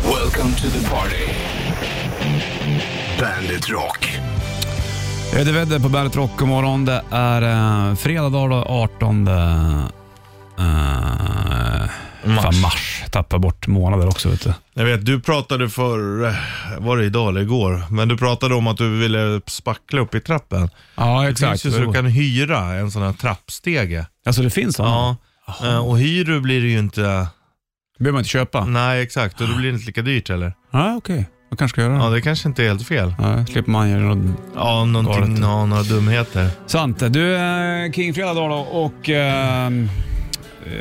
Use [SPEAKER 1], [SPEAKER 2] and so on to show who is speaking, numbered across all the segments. [SPEAKER 1] Welcome to the party. Bandit Rock.
[SPEAKER 2] Eddie Vedder på Bandet Rock God morgon. Det är eh, fredag dag då, 18 eh, Fan, mars. Tappar bort månader också. Vet du.
[SPEAKER 3] Jag vet, du pratade för, eh, var det idag eller igår? Men du pratade om att du ville spackla upp i trappen.
[SPEAKER 2] Ja,
[SPEAKER 3] Det finns ju så du kan hyra en sån här trappstege.
[SPEAKER 2] Alltså det finns sådana?
[SPEAKER 3] Ja. Eh, Och hyr du blir det ju inte,
[SPEAKER 2] Det behöver man inte köpa?
[SPEAKER 3] nej exakt, och då blir det inte lika dyrt heller.
[SPEAKER 2] Ja, okej. Jag kanske ska göra
[SPEAKER 3] Ja,
[SPEAKER 2] det.
[SPEAKER 3] det kanske inte är helt fel.
[SPEAKER 2] Ja, slipper man göra något
[SPEAKER 3] Ja, någonting,
[SPEAKER 2] Galet.
[SPEAKER 3] ja, några dumheter.
[SPEAKER 2] Sant. Du, eh, Kingfredag då, då och ehm, eh,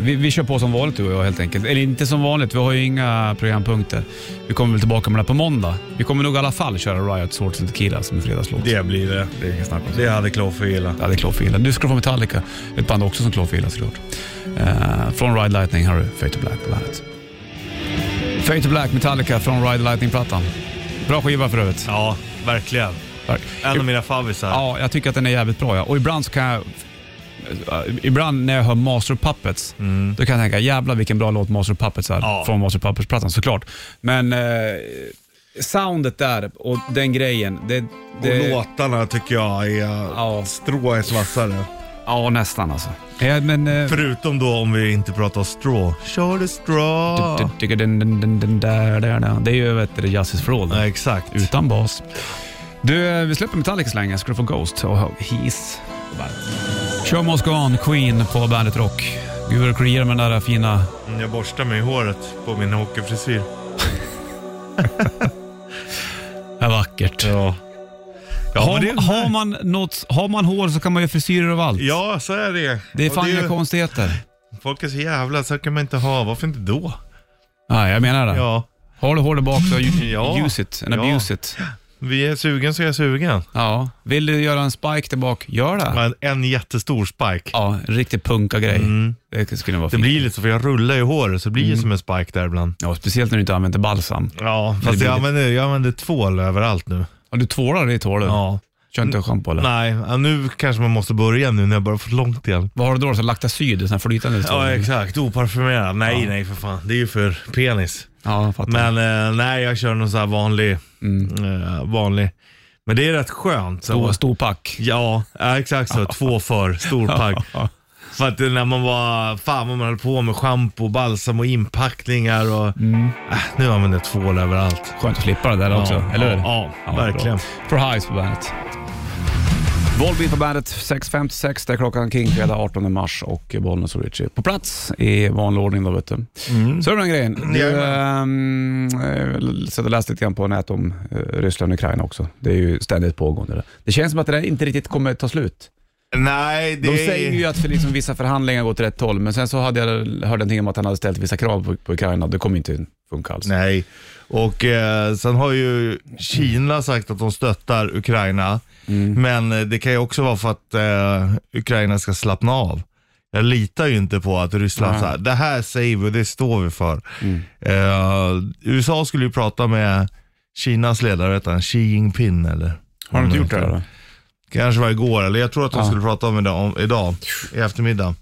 [SPEAKER 2] vi, vi kör på som vanligt du och jag helt enkelt. Eller inte som vanligt, vi har ju inga programpunkter. Vi kommer väl tillbaka med det här på måndag. Vi kommer nog i alla fall köra Riot Swords and Tequila som fredagslåt.
[SPEAKER 3] Det blir det.
[SPEAKER 2] det är inget snack om det.
[SPEAKER 3] Det hade Kloffe gillat.
[SPEAKER 2] Ja, det är klåfila. Du ska få Metallica, ett band också som klåfila såklart. Eh, från Ride Lightning har du Fate to Black på bandet. Fate to Black Metallica från Ride Lightning-plattan. Bra skiva för övrigt.
[SPEAKER 3] Ja, verkligen. En av mina favvisar.
[SPEAKER 2] Ja, jag tycker att den är jävligt bra. Ja. Och ibland så kan jag... eh, Ibland när jag hör Master of Puppets, då kan jag tänka jävla vilken bra låt Master of Puppets är
[SPEAKER 3] Mm. Ja.
[SPEAKER 2] från Master of Puppets-plattan såklart. Men eh, soundet där och den grejen, det... det
[SPEAKER 3] Och låtarna tycker jag är
[SPEAKER 2] Ja.
[SPEAKER 3] strået vassare.
[SPEAKER 2] Ja, nästan alltså. Ja, men, eh,
[SPEAKER 3] Förutom då om vi inte pratar straw. Kör det straw.
[SPEAKER 2] Det är ju vet du, Justice for All.
[SPEAKER 3] Ja, exakt.
[SPEAKER 2] Utan bas. Du, eh, vi släpper Metallica så länge. Ska du få Ghost och He's på bandet. Show must go on, Queen på Bandet Rock. Gud vad du kliar med den där fina...
[SPEAKER 3] Jag borstar mig i håret på min hockeyfrisyr.
[SPEAKER 2] Är vackert.
[SPEAKER 3] Ja. Ja,
[SPEAKER 2] har,
[SPEAKER 3] men det,
[SPEAKER 2] har, man något, har man hår så kan man göra frisyrer av allt.
[SPEAKER 3] ja så är det.
[SPEAKER 2] Det är
[SPEAKER 3] Och
[SPEAKER 2] fan
[SPEAKER 3] ju-
[SPEAKER 2] inga konstigheter.
[SPEAKER 3] Folk är så jävla, så här kan man inte ha. Varför inte då?
[SPEAKER 2] Nej, jag menar det.
[SPEAKER 3] Ja.
[SPEAKER 2] Har du hår där bak så ju-
[SPEAKER 3] Ja.
[SPEAKER 2] use it and
[SPEAKER 3] Ja.
[SPEAKER 2] abuse it.
[SPEAKER 3] Vi är sugen så är jag sugen.
[SPEAKER 2] Ja. Vill du göra en spike där bak, gör det.
[SPEAKER 3] Men en jättestor spike.
[SPEAKER 2] Ja, en riktig punka-grej. Det skulle vara
[SPEAKER 3] Mm. Det
[SPEAKER 2] fint.
[SPEAKER 3] blir lite så, för jag rullar ju håret så det blir ju som en spike där ibland.
[SPEAKER 2] Ja, speciellt när du inte använder balsam.
[SPEAKER 3] Mm. Ja,
[SPEAKER 2] det
[SPEAKER 3] fast
[SPEAKER 2] blir
[SPEAKER 3] jag
[SPEAKER 2] lite-
[SPEAKER 3] använder, jag använder tvål överallt nu.
[SPEAKER 2] Ja, du tvålar ditt hår du.
[SPEAKER 3] Ja.
[SPEAKER 2] Kör inte schampo eller?
[SPEAKER 3] Nej, ja, nu kanske man måste börja nu när jag bara fått långt igen.
[SPEAKER 2] Vad har du då? Så Laktacyd? Sån här flytande
[SPEAKER 3] Ja,
[SPEAKER 2] tvål?
[SPEAKER 3] exakt. Oparfumerad. Nej, nej för fan. Det är ju för penis.
[SPEAKER 2] Ja, jag fattar.
[SPEAKER 3] Men eh, nej, jag kör någon sån här vanlig.
[SPEAKER 2] Mm.
[SPEAKER 3] Eh, vanlig. Men det är rätt skönt. Så.
[SPEAKER 2] Stor, stor pack.
[SPEAKER 3] Ja, ja, exakt så. Två för, storpack. För att när man var, fan vad man höll på med schampo, balsam och inpackningar och... Äh, nu använder jag tvål överallt.
[SPEAKER 2] Skönt att slippa det där Mm. också,
[SPEAKER 3] Ja,
[SPEAKER 2] eller hur?
[SPEAKER 3] ja, ja, verkligen.
[SPEAKER 2] bra. For Highs på bandet. Volbeat på bandet 6.56, det är klockan kring fredag 18 mars och Bollnäs och Ritchie på plats i vanlig ordning då vet du.
[SPEAKER 3] Mm.
[SPEAKER 2] Så är det den grejen. Du, ehm, eh, satt och läste lite grann på nätet om eh, Ryssland och Ukraina också. Det är ju ständigt pågående. Det, det känns som att det där inte riktigt kommer ta slut.
[SPEAKER 3] Nej, det
[SPEAKER 2] De
[SPEAKER 3] är-
[SPEAKER 2] säger ju att för liksom vissa förhandlingar går åt rätt håll, men sen så hade jag hört någonting om att han hade ställt vissa krav på, på Ukraina. Det kommer inte funka alls.
[SPEAKER 3] Nej, och eh, sen har ju Kina sagt att de stöttar Ukraina.
[SPEAKER 2] Mm.
[SPEAKER 3] Men eh, det kan ju också vara för att eh, Ukraina ska slappna av. Jag litar ju inte på att Ryssland
[SPEAKER 2] Nej. Mm.
[SPEAKER 3] så här, det här säger vi och det står vi för. Eh, USA skulle ju prata med Kinas ledare, vet han, Xi Jinping eller?
[SPEAKER 2] Har de inte gjort det? Då?
[SPEAKER 3] Kanske var igår, eller jag tror att de skulle prata om det om, idag, i eftermiddag.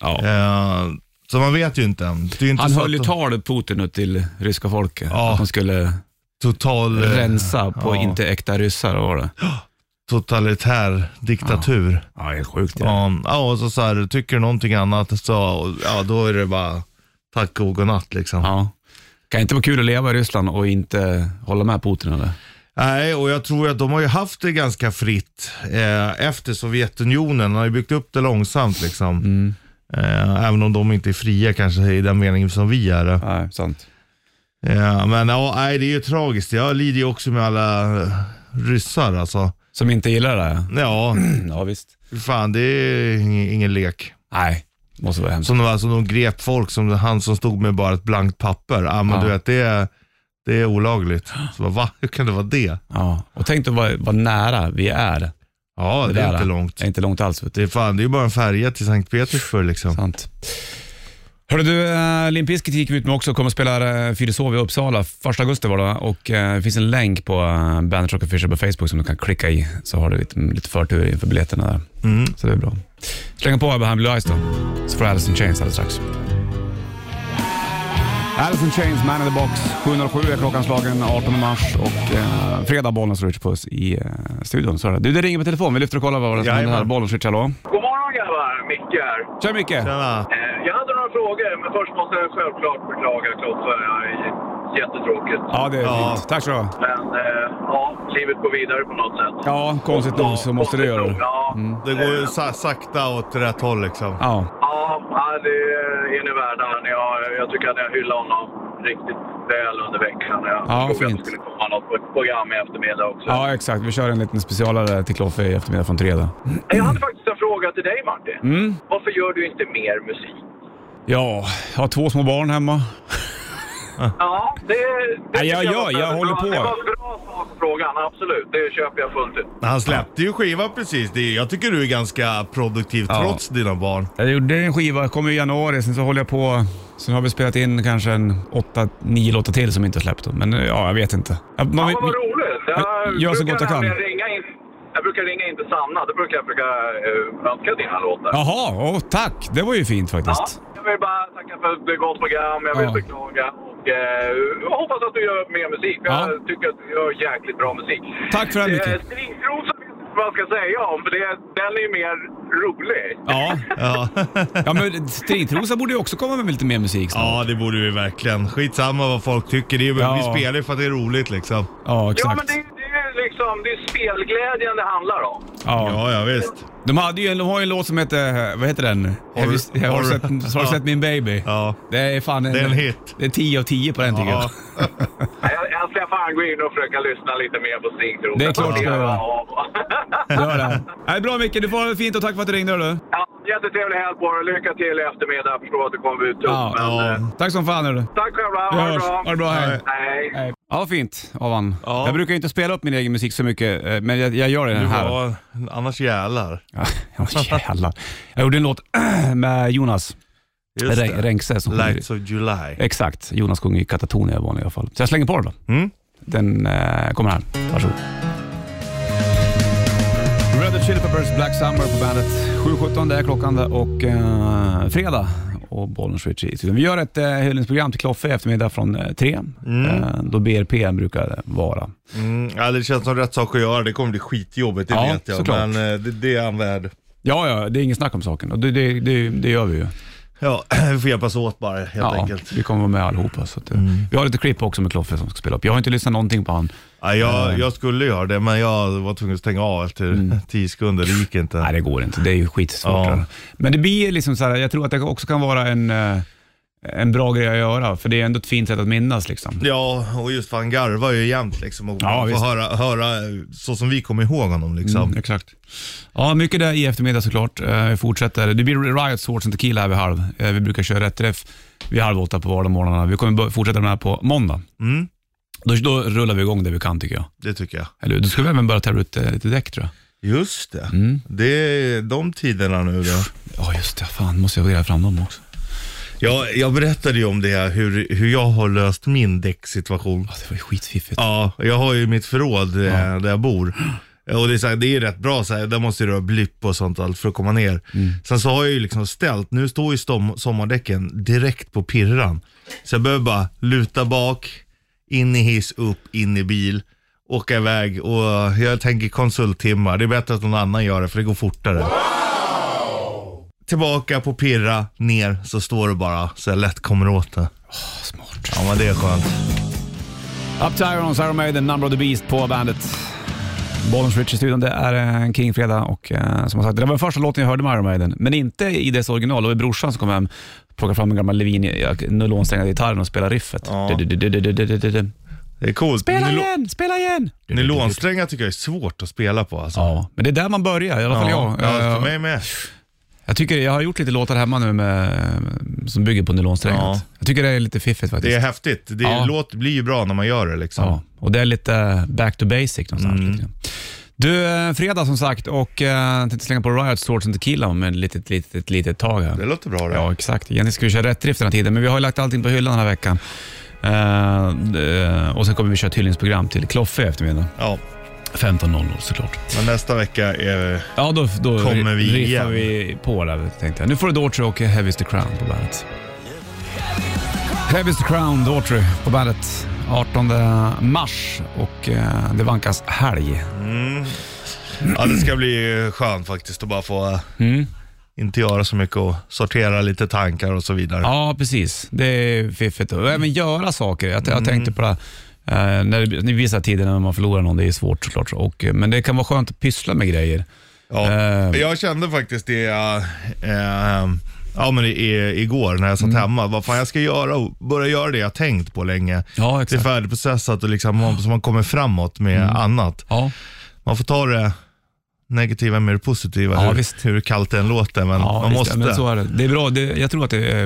[SPEAKER 2] Ja.
[SPEAKER 3] Eh, så man vet ju inte. Det är ju inte
[SPEAKER 2] Han
[SPEAKER 3] så
[SPEAKER 2] höll ju
[SPEAKER 3] att de-
[SPEAKER 2] tal, Putin, nu till ryska folket.
[SPEAKER 3] Ja.
[SPEAKER 2] Att de skulle
[SPEAKER 3] total, eh,
[SPEAKER 2] rensa på
[SPEAKER 3] ja.
[SPEAKER 2] inte äkta ryssar. vad Var det.
[SPEAKER 3] totalitär diktatur.
[SPEAKER 2] Ja, det är sjukt. Ja.
[SPEAKER 3] Ja, ja och så, så här, tycker du någonting annat så ja, då är det bara tack och godnatt liksom.
[SPEAKER 2] Ja. Kan inte vara kul att leva i Ryssland och inte hålla med Putin eller?
[SPEAKER 3] Nej, och jag tror att de har ju haft det ganska fritt eh, efter Sovjetunionen. De har ju byggt upp det långsamt liksom.
[SPEAKER 2] Mm.
[SPEAKER 3] Eh, även om de inte är fria kanske i den meningen som vi är. det.
[SPEAKER 2] Nej, sant.
[SPEAKER 3] Eh, men ja, nej, det är ju tragiskt. Jag lider ju också med alla eh, ryssar alltså.
[SPEAKER 2] Som inte gillar det här.
[SPEAKER 3] Ja,
[SPEAKER 2] Ja, visst.
[SPEAKER 3] fan det är ingen, ingen lek.
[SPEAKER 2] Nej, måste vara hemskt.
[SPEAKER 3] Som de, alltså, de grep folk, som han som stod med bara ett blankt papper. Ja, men
[SPEAKER 2] Ja.
[SPEAKER 3] du vet, det är, det är olagligt. Så bara, va? Hur kan det vara det?
[SPEAKER 2] Ja. Och tänk dig vad, vad nära vi är.
[SPEAKER 3] Ja, det, är
[SPEAKER 2] där,
[SPEAKER 3] inte långt.
[SPEAKER 2] Det är inte långt alls. Vet du.
[SPEAKER 3] Det är, fan, det är bara en färja till Sankt Petersburg liksom.
[SPEAKER 2] Sant. Hörru du, äh, Limp Bizkit gick vi ut med också och kommer att spela äh, Fyrishov i Uppsala. Första augusti var det va? och eh, det finns en länk på äh, Bandit Rock Official på Facebook som du kan klicka i så har du lite, lite förtur inför biljetterna där.
[SPEAKER 3] Mm.
[SPEAKER 2] Så det är bra. Slänga på Abraham Blue Eyes då, så får du Alice in Chains alldeles strax. Alice in Chains, Man in the Box. 7.07 är klockan slagen 18 mars och eh, fredag Bollnäs och Richard Puss i eh, studion. Så är det. Du, det ringer på telefon. Vi lyfter och kollar vad det är som händer här.
[SPEAKER 3] Jajamän.
[SPEAKER 2] Bollnäs Richard, hallå?
[SPEAKER 1] God morgon grabbar, Micke här.
[SPEAKER 2] Tja Micke!
[SPEAKER 3] Tjena.
[SPEAKER 1] Eh, Jag hade några frågor, men först måste jag självklart beklaga Kloffe. Ja, det är Jättetråkigt.
[SPEAKER 2] Ja, det är
[SPEAKER 3] Ja.
[SPEAKER 2] fint. Tack så du ha.
[SPEAKER 1] Men eh, ja, livet går vidare på något sätt.
[SPEAKER 2] Ja, konstigt nog så måste det göra Mm. det.
[SPEAKER 1] Ja,
[SPEAKER 3] Det går ju sa- sakta åt rätt håll liksom.
[SPEAKER 2] Ja.
[SPEAKER 1] ja, ja, det är ni värda. Jag, jag tycker att jag hyllade honom riktigt väl under veckan. Jag
[SPEAKER 2] Ja,
[SPEAKER 1] förstod
[SPEAKER 2] fint.
[SPEAKER 1] att det skulle komma något program i eftermiddag också.
[SPEAKER 2] ja, exakt. Vi kör en liten specialare till Kloffe i eftermiddag från tre. då.
[SPEAKER 1] Jag hade faktiskt en fråga till dig Martin.
[SPEAKER 2] Mm.
[SPEAKER 1] Varför gör du inte mer musik?
[SPEAKER 2] Ja, jag har två små barn hemma.
[SPEAKER 1] Ja, det... det
[SPEAKER 2] Nej, jag
[SPEAKER 1] tycker
[SPEAKER 2] gör,
[SPEAKER 1] var
[SPEAKER 2] jag
[SPEAKER 1] bra.
[SPEAKER 2] håller på.
[SPEAKER 1] Det var en bra sak frågan, absolut. Det köper jag fullt ut.
[SPEAKER 3] Han släppte ju skiva precis. Det, jag tycker du är ganska produktiv
[SPEAKER 2] Ja.
[SPEAKER 3] trots dina barn.
[SPEAKER 2] Jag gjorde en skiva, kom i januari, sen så håller jag på. Sen har vi spelat in kanske en åtta, nio låtar till som inte är släppt. Men ja, jag vet inte. Ja, man-
[SPEAKER 1] Ja, men vad roligt!
[SPEAKER 2] Men gör så
[SPEAKER 1] brukar
[SPEAKER 2] gott jag kan.
[SPEAKER 1] nämligen Ringa in, jag brukar ringa in till Sanna. Då brukar jag försöka eh, önska dina låtar.
[SPEAKER 2] Jaha, åh, tack! Det var ju fint
[SPEAKER 1] Ja,
[SPEAKER 2] faktiskt.
[SPEAKER 1] jag vill bara tacka för ett gott program. Jag vill
[SPEAKER 2] Ja.
[SPEAKER 1] beklaga. Och, eh, jag hoppas att du gör mer musik. för
[SPEAKER 2] Ja.
[SPEAKER 1] Jag tycker att du gör jäkligt bra musik.
[SPEAKER 2] Tack för det, Micke.
[SPEAKER 1] Eh, Stringtrosa vet jag inte vad jag ska säga om, för det, den är ju mer rolig.
[SPEAKER 2] Ja.
[SPEAKER 3] Ja,
[SPEAKER 2] ja, men Stridrosa borde ju också komma med lite mer musik snart.
[SPEAKER 3] ja det borde vi verkligen. Skitsamma vad folk tycker. Det är,
[SPEAKER 2] Ja.
[SPEAKER 3] Vi spelar ju för att det är roligt liksom.
[SPEAKER 2] Ja,
[SPEAKER 1] Ja, men
[SPEAKER 2] exakt.
[SPEAKER 1] det, det är liksom det är spelglädjen det handlar om.
[SPEAKER 2] Ja.
[SPEAKER 3] Ja, ja visst.
[SPEAKER 2] De, hade ju, de har ju en låt som heter, vad heter den? Har du, har du,
[SPEAKER 3] har
[SPEAKER 2] sett,
[SPEAKER 3] du-
[SPEAKER 2] har du
[SPEAKER 3] Ja.
[SPEAKER 2] sett min baby?
[SPEAKER 3] Ja.
[SPEAKER 2] Det är fan en,
[SPEAKER 3] Det är en hit.
[SPEAKER 2] Det är 10 av 10 på den tycker
[SPEAKER 3] Ja.
[SPEAKER 2] jag.
[SPEAKER 1] Jag, jag ska fan gå in och försöka lyssna lite mer på Stigtrosa.
[SPEAKER 2] Det är klart du ska göra.
[SPEAKER 1] Ja,
[SPEAKER 2] Gör det. Nej, bra Micke, du får ha det fint och tack för att du ringde. hörru.
[SPEAKER 1] jättetrevlig helg på er. Lycka till i eftermiddag. Jag förstår att det kommer bli tufft,
[SPEAKER 2] Ja.
[SPEAKER 1] men...
[SPEAKER 3] Ja.
[SPEAKER 1] eh,
[SPEAKER 2] Tack som fan. hörru.
[SPEAKER 1] Tack själva.
[SPEAKER 2] Vi
[SPEAKER 1] Ha det
[SPEAKER 2] hörs.
[SPEAKER 1] bra.
[SPEAKER 2] Ha det bra, hej.
[SPEAKER 1] Hej.
[SPEAKER 2] Nej. Ja, vad fint av han.
[SPEAKER 3] Ja.
[SPEAKER 2] Jag brukar ju inte spela upp min egen musik så mycket, eh, men jag, jag gör det den här.
[SPEAKER 3] Ja, annars jävlar.
[SPEAKER 2] Ja, jävlar. Jag gjorde en låt med Jonas
[SPEAKER 3] Just
[SPEAKER 2] Re-
[SPEAKER 3] det.
[SPEAKER 2] Rengse som sjunger.
[SPEAKER 3] Lights of July.
[SPEAKER 2] Exakt, Jonas sjunger i katatonia i vanliga fall. Så jag slänger på den då.
[SPEAKER 3] Mm.
[SPEAKER 2] Den eh, kommer här. Varsågod. Red Hot Chili Peppers Black Summer på bandet. 7.17 det är klockan det och eh, fredag och Bollnäs Ritchie i studion. Vi gör ett eh, hyllningsprogram till Kloffe i eftermiddag från eh, tre, eh, då BRP brukar vara.
[SPEAKER 3] Mm, ja, det känns som rätt sak att göra. Det kommer bli skitjobbigt, det
[SPEAKER 2] Ja,
[SPEAKER 3] vet jag.
[SPEAKER 2] såklart.
[SPEAKER 3] Men eh, det, det är han värd.
[SPEAKER 2] Ja, ja, det är inget snack om saken och det, det, det, det gör vi ju.
[SPEAKER 3] Ja, vi får hjälpas åt bara helt
[SPEAKER 2] ja,
[SPEAKER 3] enkelt.
[SPEAKER 2] Vi kommer vara med allihopa. Så att, eh, Vi har lite klipp också med Kloffe som ska spela upp. Jag har inte lyssnat någonting på han.
[SPEAKER 3] Ja, jag, jag skulle göra det, men jag var tvungen att stänga av efter tio sekunder. Det gick inte.
[SPEAKER 2] Nej, det går inte. Det är ju skitsvårt.
[SPEAKER 3] Ja.
[SPEAKER 2] det där. Men det blir liksom så här, jag tror att det också kan vara en, eh, en bra grej att göra, för det är ändå ett fint sätt att minnas. Liksom.
[SPEAKER 3] Ja, och just för han garvar ju jämt liksom. Och
[SPEAKER 2] Ja,
[SPEAKER 3] man
[SPEAKER 2] visst.
[SPEAKER 3] får höra, höra eh, så som vi kommer ihåg honom liksom.
[SPEAKER 2] Mm, exakt. Ja, mycket där i eftermiddag såklart. Eh, Vi fortsätter. Det blir Riot Swords and Tequila här vid halv. Eh, Vi brukar köra ett träff vid halv åtta på vardagsmorgnarna. Vi kommer bör- fortsätta med det här på måndag.
[SPEAKER 3] Mm,
[SPEAKER 2] Då, då rullar vi igång det vi kan tycker jag.
[SPEAKER 3] det tycker jag.
[SPEAKER 2] Eller hur? Då ska vi även börja tävla ut eh, lite däck tror jag.
[SPEAKER 3] Just det.
[SPEAKER 2] Mm.
[SPEAKER 3] Det är de tiderna nu då.
[SPEAKER 2] Ja, just det. Fan, måste jag gräva fram dem också.
[SPEAKER 3] Jag, jag berättade ju om det, här, hur, hur jag har löst min däcksituation.
[SPEAKER 2] Ja, det var ju skitfiffigt.
[SPEAKER 3] Ja, jag har ju mitt förråd eh, där jag bor. Och det är, så här, det är rätt bra, så här, där måste du ha blipp och sånt allt för att komma ner. Sen så har jag ju liksom ställt, nu står ju stom, sommardäcken direkt på pirran. Så jag behöver bara luta bak, in i hiss, upp, in i bil, åka iväg och eh, jag tänker konsulttimmar. Det är bättre att någon annan gör det för det går fortare. Tillbaka på pirra, ner, så står det bara så jag lätt kommer åt det.
[SPEAKER 2] Smart.
[SPEAKER 3] Ja men det är skönt.
[SPEAKER 2] Up to Irons, Iron Maiden, Number of the Beast på bandet. Bollens Rich i studion, det är eh, en King-fredag och eh, som jag sagt, det var den första låten jag hörde med Iron Maiden, men inte i dess original. Det var brorsan som kom hem, plockade fram en gammal Levin eh, nylonsträngad gitarren och spelade riffet.
[SPEAKER 3] Ja.
[SPEAKER 2] Du-du-du-du-du-du-du-du-du.
[SPEAKER 3] Det är coolt.
[SPEAKER 2] Spela
[SPEAKER 3] Nu lå-
[SPEAKER 2] igen, spela igen! Du-du-du-du-du.
[SPEAKER 3] Nylonsträngar tycker jag är svårt att spela på alltså.
[SPEAKER 2] Ja, men det är där man börjar, i alla fall
[SPEAKER 3] ja,
[SPEAKER 2] jag.
[SPEAKER 3] ja,
[SPEAKER 2] Eh,
[SPEAKER 3] för mig med.
[SPEAKER 2] Jag tycker, jag har gjort lite låtar hemma nu med, som bygger på nylonsträngat.
[SPEAKER 3] Ja.
[SPEAKER 2] Jag tycker det är lite fiffigt faktiskt.
[SPEAKER 3] Det är häftigt. Det
[SPEAKER 2] Ja.
[SPEAKER 3] låt blir ju bra när man gör det liksom.
[SPEAKER 2] Ja, och det är lite back to basic någonstans.
[SPEAKER 3] Mm.
[SPEAKER 2] lite grann. Du, eh, fredag som sagt och eh, jag tänkte slänga på Riot Swords and Tequila om ett litet, litet, litet tag
[SPEAKER 3] Det
[SPEAKER 2] här.
[SPEAKER 3] låter bra det.
[SPEAKER 2] Ja, exakt. Egentligen ska vi köra rätt drift den här tiden, men vi har ju lagt allting på hyllan den här veckan. Eh, d- eh, och sen kommer vi köra ett hyllningsprogram till Kloffe i eftermiddag.
[SPEAKER 3] Ja,
[SPEAKER 2] 15.00 såklart.
[SPEAKER 3] Men nästa vecka är...
[SPEAKER 2] Ja, då, då
[SPEAKER 3] Kommer vi
[SPEAKER 2] riffar
[SPEAKER 3] igen.
[SPEAKER 2] vi på där tänkte jag. Nu får du Daughtry och Heavy is the Crown på bandet.
[SPEAKER 4] Heavy is the crown.
[SPEAKER 2] Heavy's the Crown, Daughtry på bandet. 18 mars och eh, det vankas helg.
[SPEAKER 3] Ja, det ska bli skönt faktiskt att bara få eh,
[SPEAKER 2] Mm.
[SPEAKER 3] inte göra så mycket och sortera lite tankar och så vidare.
[SPEAKER 2] Ja, precis. Det är fiffigt. Och även göra saker. Jag,
[SPEAKER 3] Mm.
[SPEAKER 2] jag tänkte på det. här, Eh, när det, det är vissa tider när man förlorar någon, det är svårt såklart. Och, eh, men det kan vara skönt att pyssla med grejer.
[SPEAKER 3] Ja.
[SPEAKER 2] Eh.
[SPEAKER 3] Jag kände faktiskt det eh, eh, ja, men i, i, igår när jag
[SPEAKER 2] Mm.
[SPEAKER 3] satt hemma. Vad fan jag ska göra och börja göra det jag tänkt på länge.
[SPEAKER 2] Ja,
[SPEAKER 3] Det är
[SPEAKER 2] exakt. Mm.
[SPEAKER 3] färdigprocessat och liksom, man, så man kommer framåt med annat.
[SPEAKER 2] Ja,
[SPEAKER 3] Man får ta det negativa med det positiva,
[SPEAKER 2] Ja,
[SPEAKER 3] hur,
[SPEAKER 2] visst.
[SPEAKER 3] hur kallt det än låter. Men
[SPEAKER 2] ja
[SPEAKER 3] man
[SPEAKER 2] visst,
[SPEAKER 3] måste.
[SPEAKER 2] Men så är det. det är bra. Det, jag tror att det, är,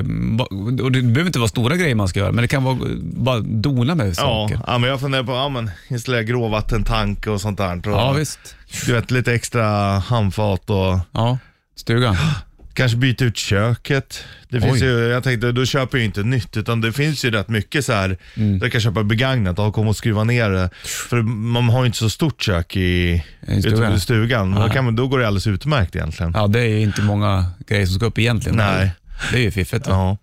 [SPEAKER 2] och det behöver inte vara stora grejer man ska göra, men det kan vara bara dona med
[SPEAKER 3] Ja,
[SPEAKER 2] saker.
[SPEAKER 3] ja, men jag funderar på, ja men installera gråvattentank och sånt där. Och,
[SPEAKER 2] Ja, visst.
[SPEAKER 3] Du vet, lite extra handfat och
[SPEAKER 2] Ja, stugan.
[SPEAKER 3] kanske byta ut köket. Det finns
[SPEAKER 2] Oj.
[SPEAKER 3] ju, jag tänkte, då köper jag ju inte nytt, utan det finns ju rätt mycket så här.
[SPEAKER 2] Mm.
[SPEAKER 3] där jag kan köpa begagnat och komma och skruva ner det. För man har ju inte så stort kök i,
[SPEAKER 2] I stugan.
[SPEAKER 3] ute i stugan. Då, kan man, då går det alldeles utmärkt egentligen.
[SPEAKER 2] Ja, det är ju inte många grejer som ska upp egentligen.
[SPEAKER 3] Nej.
[SPEAKER 2] Det är ju fiffigt.
[SPEAKER 3] Ja.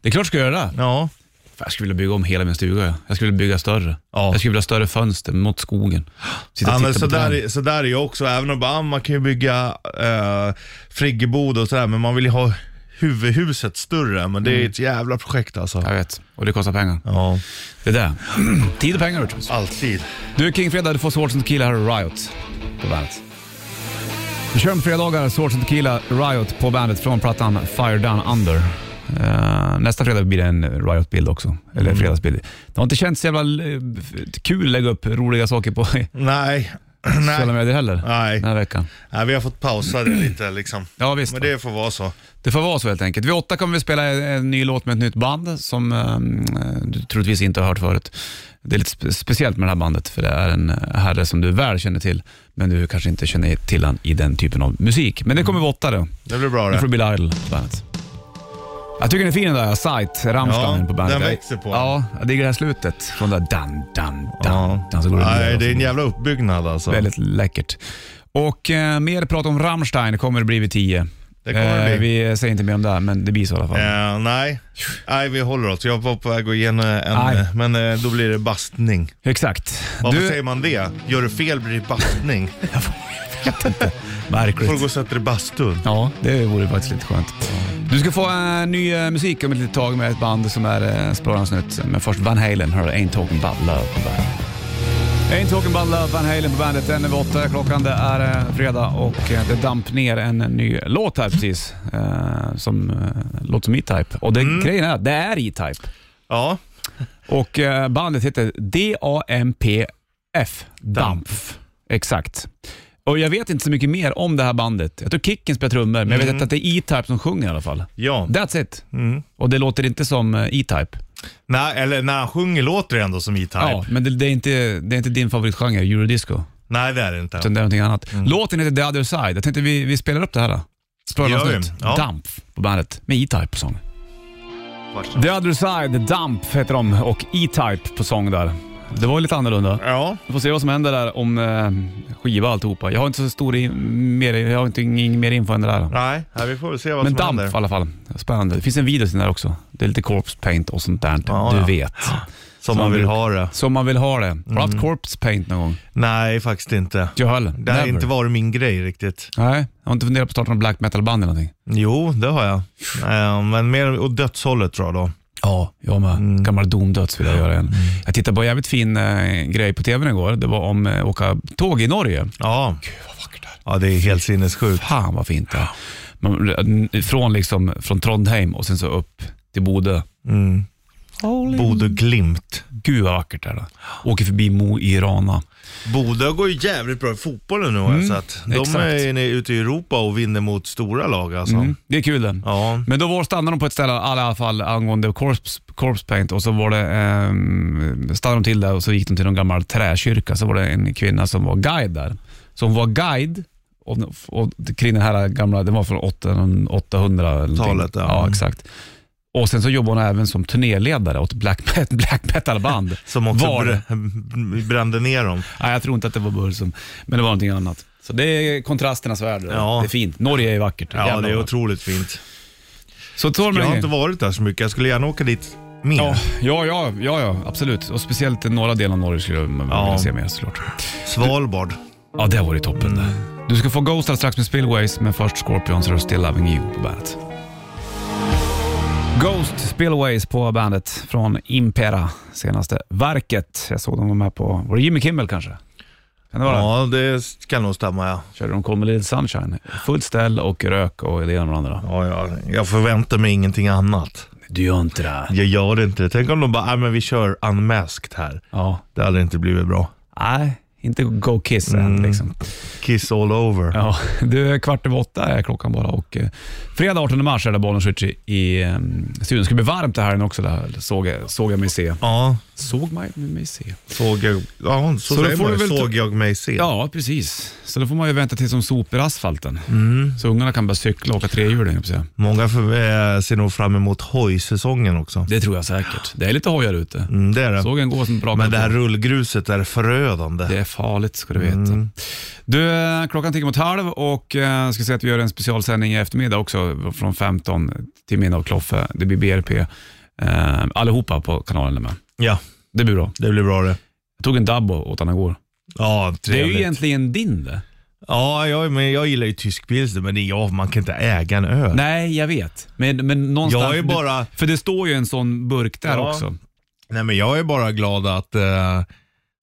[SPEAKER 2] Det är klart ska jag göra det.
[SPEAKER 3] ja.
[SPEAKER 2] Fan, Jag skulle vilja bygga om hela min stuga. jag. Jag skulle vilja bygga större.
[SPEAKER 3] Ja.
[SPEAKER 2] Jag skulle vilja ha större fönster mot skogen. Sitta
[SPEAKER 3] Ja,
[SPEAKER 2] och
[SPEAKER 3] men
[SPEAKER 2] titta
[SPEAKER 3] så,
[SPEAKER 2] på
[SPEAKER 3] där,
[SPEAKER 2] träd.
[SPEAKER 3] är- så där är jag också, även om bara, ah, man kan ju bygga eh, friggebod och sådär, men man vill ju ha huvudhuset större. Men det är
[SPEAKER 2] Mm.
[SPEAKER 3] ett jävla projekt alltså.
[SPEAKER 2] Jag vet, och det kostar pengar.
[SPEAKER 3] Ja,
[SPEAKER 2] Det där. Tid och pengar, Richards.
[SPEAKER 3] alltid.
[SPEAKER 2] Du, King Fredag, du får Swords and Tequila här och Riot på bandet. Vi kör om fredagar, Swords and Tequila, Riot på bandet från plattan Fire Down Under. Eh, nästa fredag blir det en Riot-bild också,
[SPEAKER 3] Mm.
[SPEAKER 2] eller fredagsbild. Det har inte känts så jävla eh, kul att lägga upp roliga saker på
[SPEAKER 3] Nej,
[SPEAKER 2] sociala
[SPEAKER 3] nej,
[SPEAKER 2] medier heller
[SPEAKER 3] nej.
[SPEAKER 2] den här veckan.
[SPEAKER 3] nej, vi har fått pausa det lite liksom.
[SPEAKER 2] Ja, visst.
[SPEAKER 3] Men det får vara så.
[SPEAKER 2] Det får vara så helt enkelt. Vid åtta kommer vi spela en, en ny låt med ett nytt band som eh, du troligtvis inte har hört förut. Det är lite spe- speciellt med det här bandet för det är en eh, herre som du väl känner till men du kanske inte känner till han i den typen av musik. Men det kommer vid åtta då.
[SPEAKER 3] Det blir bra
[SPEAKER 2] Nu
[SPEAKER 3] det.
[SPEAKER 2] får det bli Lidl på bandet. Jag tycker den är fin den där, Sight, Rammstein
[SPEAKER 3] Ja,
[SPEAKER 2] på bandet.
[SPEAKER 3] den växer på.
[SPEAKER 2] Ja, det är det här slutet. Från det där dan, dan, dan,
[SPEAKER 3] Ja.
[SPEAKER 2] dan. Så går det vidare
[SPEAKER 3] Nej,
[SPEAKER 2] och
[SPEAKER 3] det
[SPEAKER 2] så-
[SPEAKER 3] är en jävla uppbyggnad alltså.
[SPEAKER 2] Väldigt läckert. Och eh, mer prat om Rammstein kommer det bli vid tio. Eh,
[SPEAKER 3] Det kommer det bli.
[SPEAKER 2] vi säger inte mer om det, här, men det blir så i alla fall.
[SPEAKER 3] Eh, nej. nej, vi håller oss. Jag var på väg att ge en,
[SPEAKER 2] Nej.
[SPEAKER 3] en men eh, då blir det bastning.
[SPEAKER 2] Exakt.
[SPEAKER 3] Varför
[SPEAKER 2] du,
[SPEAKER 3] säger man det? Gör du fel blir det bastning. Då får du gå
[SPEAKER 2] Märkligt.
[SPEAKER 3] och sätta dig i bastun.
[SPEAKER 2] Ja, det vore faktiskt lite skönt. Du ska få eh, ny eh, musik om ett litet tag med ett band som är eh, sprallans nytt. Men först Van Halen, hör du, Ain't Talking About Love på bandet. Ain't Talking About Love, Van Halen på bandet. Den är åtta, klockan det är eh, fredag och eh, det damp ner en ny låt här precis. Eh, som eh, låter som E-Type. Och det, grejen är att det är E-Type.
[SPEAKER 3] Ja.
[SPEAKER 2] Och eh, bandet heter DAMPF. Dampf. Exakt. Och jag vet inte så mycket mer om det här bandet. Jag tror Kicken spelar trummor, men jag
[SPEAKER 3] Mm.
[SPEAKER 2] vet att det är E-Type som sjunger i alla fall.
[SPEAKER 3] Ja.
[SPEAKER 2] That's it. Och det låter inte som eh, E-Type.
[SPEAKER 3] Nej, eller när han sjunger låter det ändå som E-Type.
[SPEAKER 2] Ja, men det, det, är inte, det är inte din favoritgenre, eurodisco,
[SPEAKER 3] Nej, det är det inte.
[SPEAKER 2] utan det är någonting annat.
[SPEAKER 3] Mm.
[SPEAKER 2] Låten heter The Other Side. Jag tänkte vi, vi spelar upp det här då. Spölarnas
[SPEAKER 3] Gör vi.
[SPEAKER 2] nytt.
[SPEAKER 3] Ja.
[SPEAKER 2] Dampf på bandet med E-Type på sång. The Other Side, Dampf heter de och E-Type på sång där. Det var ju lite annorlunda.
[SPEAKER 3] Ja,
[SPEAKER 2] Vi får se vad som händer där om eh, skiva och alltihopa. Jag har inte så stor i, mer, jag har inte ingen mer info än det där.
[SPEAKER 3] nej, nej, vi får väl se vad
[SPEAKER 2] Men
[SPEAKER 3] som
[SPEAKER 2] damp i
[SPEAKER 3] händer.
[SPEAKER 2] alla fall. Spännande. Det finns en video till den där också. Det är lite corpse paint och sånt där.
[SPEAKER 3] Ja,
[SPEAKER 2] du
[SPEAKER 3] ja.
[SPEAKER 2] vet.
[SPEAKER 3] Som man vill ha det.
[SPEAKER 2] Som man vill ha det. Har du haft corpse paint någon gång?
[SPEAKER 3] Nej, faktiskt inte.
[SPEAKER 2] Jag höll.
[SPEAKER 3] Mm. Det har inte varit min grej riktigt.
[SPEAKER 2] Nej, jag har inte funderat på att starta någon black metal-band eller någonting.
[SPEAKER 3] Jo, det har jag. Eh, Men mer åt dödshållet tror jag då.
[SPEAKER 2] Ja, jag med.
[SPEAKER 3] Mm.
[SPEAKER 2] Gammal domdöds vill jag göra en. Jag tittade på en jävligt fin eh, grej på tvn igår. Det var om eh, åka tåg i Norge.
[SPEAKER 3] Ja. Gud vad vackert det Ja, det är helt sinnessjukt.
[SPEAKER 2] Fan vad fint det är. Man, från, liksom, från Trondheim och sen så upp till Bodö.
[SPEAKER 3] Mm. Bodö Glimt.
[SPEAKER 2] Gud vad vackert det är. då. Åker förbi Mo i Rana.
[SPEAKER 3] Bodö går ju jävligt bra i fotbollen nu har jag sett. De
[SPEAKER 2] Mm. exakt.
[SPEAKER 3] är inne ute i Europa och vinner mot stora lag alltså.
[SPEAKER 2] Mm. Det är kul det.
[SPEAKER 3] Ja.
[SPEAKER 2] Men då var, stannade de på ett ställe i alla fall angående corpse, corpse paint och så var det, ehm, stannade de till där och så gick de till någon gammal träkyrka. Så var det en kvinna som var guide där. Så hon var guide och, och, kring den här gamla, den var från 800 eller någonting.
[SPEAKER 3] Talet, ja.
[SPEAKER 2] ja. exakt. Och sen så jobbade hon även som turnéledare åt black, met- black metal-band.
[SPEAKER 3] Som också
[SPEAKER 2] Var det?
[SPEAKER 3] br- brände ner dem.
[SPEAKER 2] Nej, jag tror inte att det var Bursum, men det var någonting annat. Så det är kontrasternas värld.
[SPEAKER 3] Ja.
[SPEAKER 2] Det är fint. Norge är vackert.
[SPEAKER 3] Ja,
[SPEAKER 2] Jävlar
[SPEAKER 3] det är
[SPEAKER 2] vad-
[SPEAKER 3] otroligt fint.
[SPEAKER 2] Så tar
[SPEAKER 3] Jag har
[SPEAKER 2] man
[SPEAKER 3] inte varit där så mycket. Jag skulle gärna åka dit mer.
[SPEAKER 2] Ja, ja, ja, ja, ja, absolut. Och speciellt i norra delen av Norge skulle man
[SPEAKER 3] Ja.
[SPEAKER 2] vilja se mer såklart.
[SPEAKER 3] Svalbard.
[SPEAKER 2] Ja, det var ju toppen det. Du ska få Ghost alldeles strax med Spillways, men först Scorpions och Still Loving You på bandet. Ghost Spillways på bandet från Impera, senaste verket. Jag såg dem var med på, var det Jimmy Kimmel kanske? Kan det vara det?
[SPEAKER 3] Ja, det ska nog stämma ja.
[SPEAKER 2] Körde de Come A Little Sunshine? Fullt ställ och rök och det ena och det andra.
[SPEAKER 3] Ja, ja. Jag förväntar mig ingenting annat.
[SPEAKER 2] Du gör inte det.
[SPEAKER 3] Jag gör det inte. Tänk om de bara, "Ah, men vi kör unmasked här.
[SPEAKER 2] Ja.
[SPEAKER 3] Det hade inte blivit bra.
[SPEAKER 2] Nej, inte Go Kiss än liksom.
[SPEAKER 3] Kiss all over.
[SPEAKER 2] Ja, du, kvart över åtta är klockan bara och eh, fredag 18 mars är det Bollnäs i, i eh, studion. Det ska bli varmt det här inne också, det här såg, jag- såg jag mig se.
[SPEAKER 3] Ja,
[SPEAKER 2] Såg mig, mig se?
[SPEAKER 3] såg jag, ja, så
[SPEAKER 2] Så då
[SPEAKER 3] säger
[SPEAKER 2] får
[SPEAKER 3] man ju,
[SPEAKER 2] du väl ta-
[SPEAKER 3] såg jag mig se.
[SPEAKER 2] Ja, precis. Så då får man ju vänta tills de sopar asfalten.
[SPEAKER 3] Mm.
[SPEAKER 2] Så ungarna kan börja cykla och åka trehjuling, höll jag på att säga.
[SPEAKER 3] Många för, eh, ser nog fram emot hojsäsongen också.
[SPEAKER 2] Det tror jag säkert. Det är lite hojar ute.
[SPEAKER 3] Mm, det är det.
[SPEAKER 2] Såg en gå som brakade
[SPEAKER 3] Men det här
[SPEAKER 2] på.
[SPEAKER 3] rullgruset är förödande.
[SPEAKER 2] Det är farligt ska du veta.
[SPEAKER 3] Mm.
[SPEAKER 2] Du, eh, klockan tickar mot halv och eh, ska säga att vi gör en specialsändning i eftermiddag också från 15 till minne av Kloffe. Det blir BRP. Eh, allihopa på kanalen är med.
[SPEAKER 3] Ja,
[SPEAKER 2] Det blir bra.
[SPEAKER 3] det blir bra det.
[SPEAKER 2] Jag tog en dubb och åt han igår.
[SPEAKER 3] Ja,
[SPEAKER 2] Det är
[SPEAKER 3] trevligt.
[SPEAKER 2] ju egentligen din det.
[SPEAKER 3] Ja, jag, men jag gillar ju tysk pilsner, men det är, ja, man kan inte äga en öl.
[SPEAKER 2] Nej, jag vet. Men, men någonstans...
[SPEAKER 3] Jag är bara-
[SPEAKER 2] För det står ju en sån burk där
[SPEAKER 3] Ja.
[SPEAKER 2] också.
[SPEAKER 3] Nej, men jag är bara glad att, eh,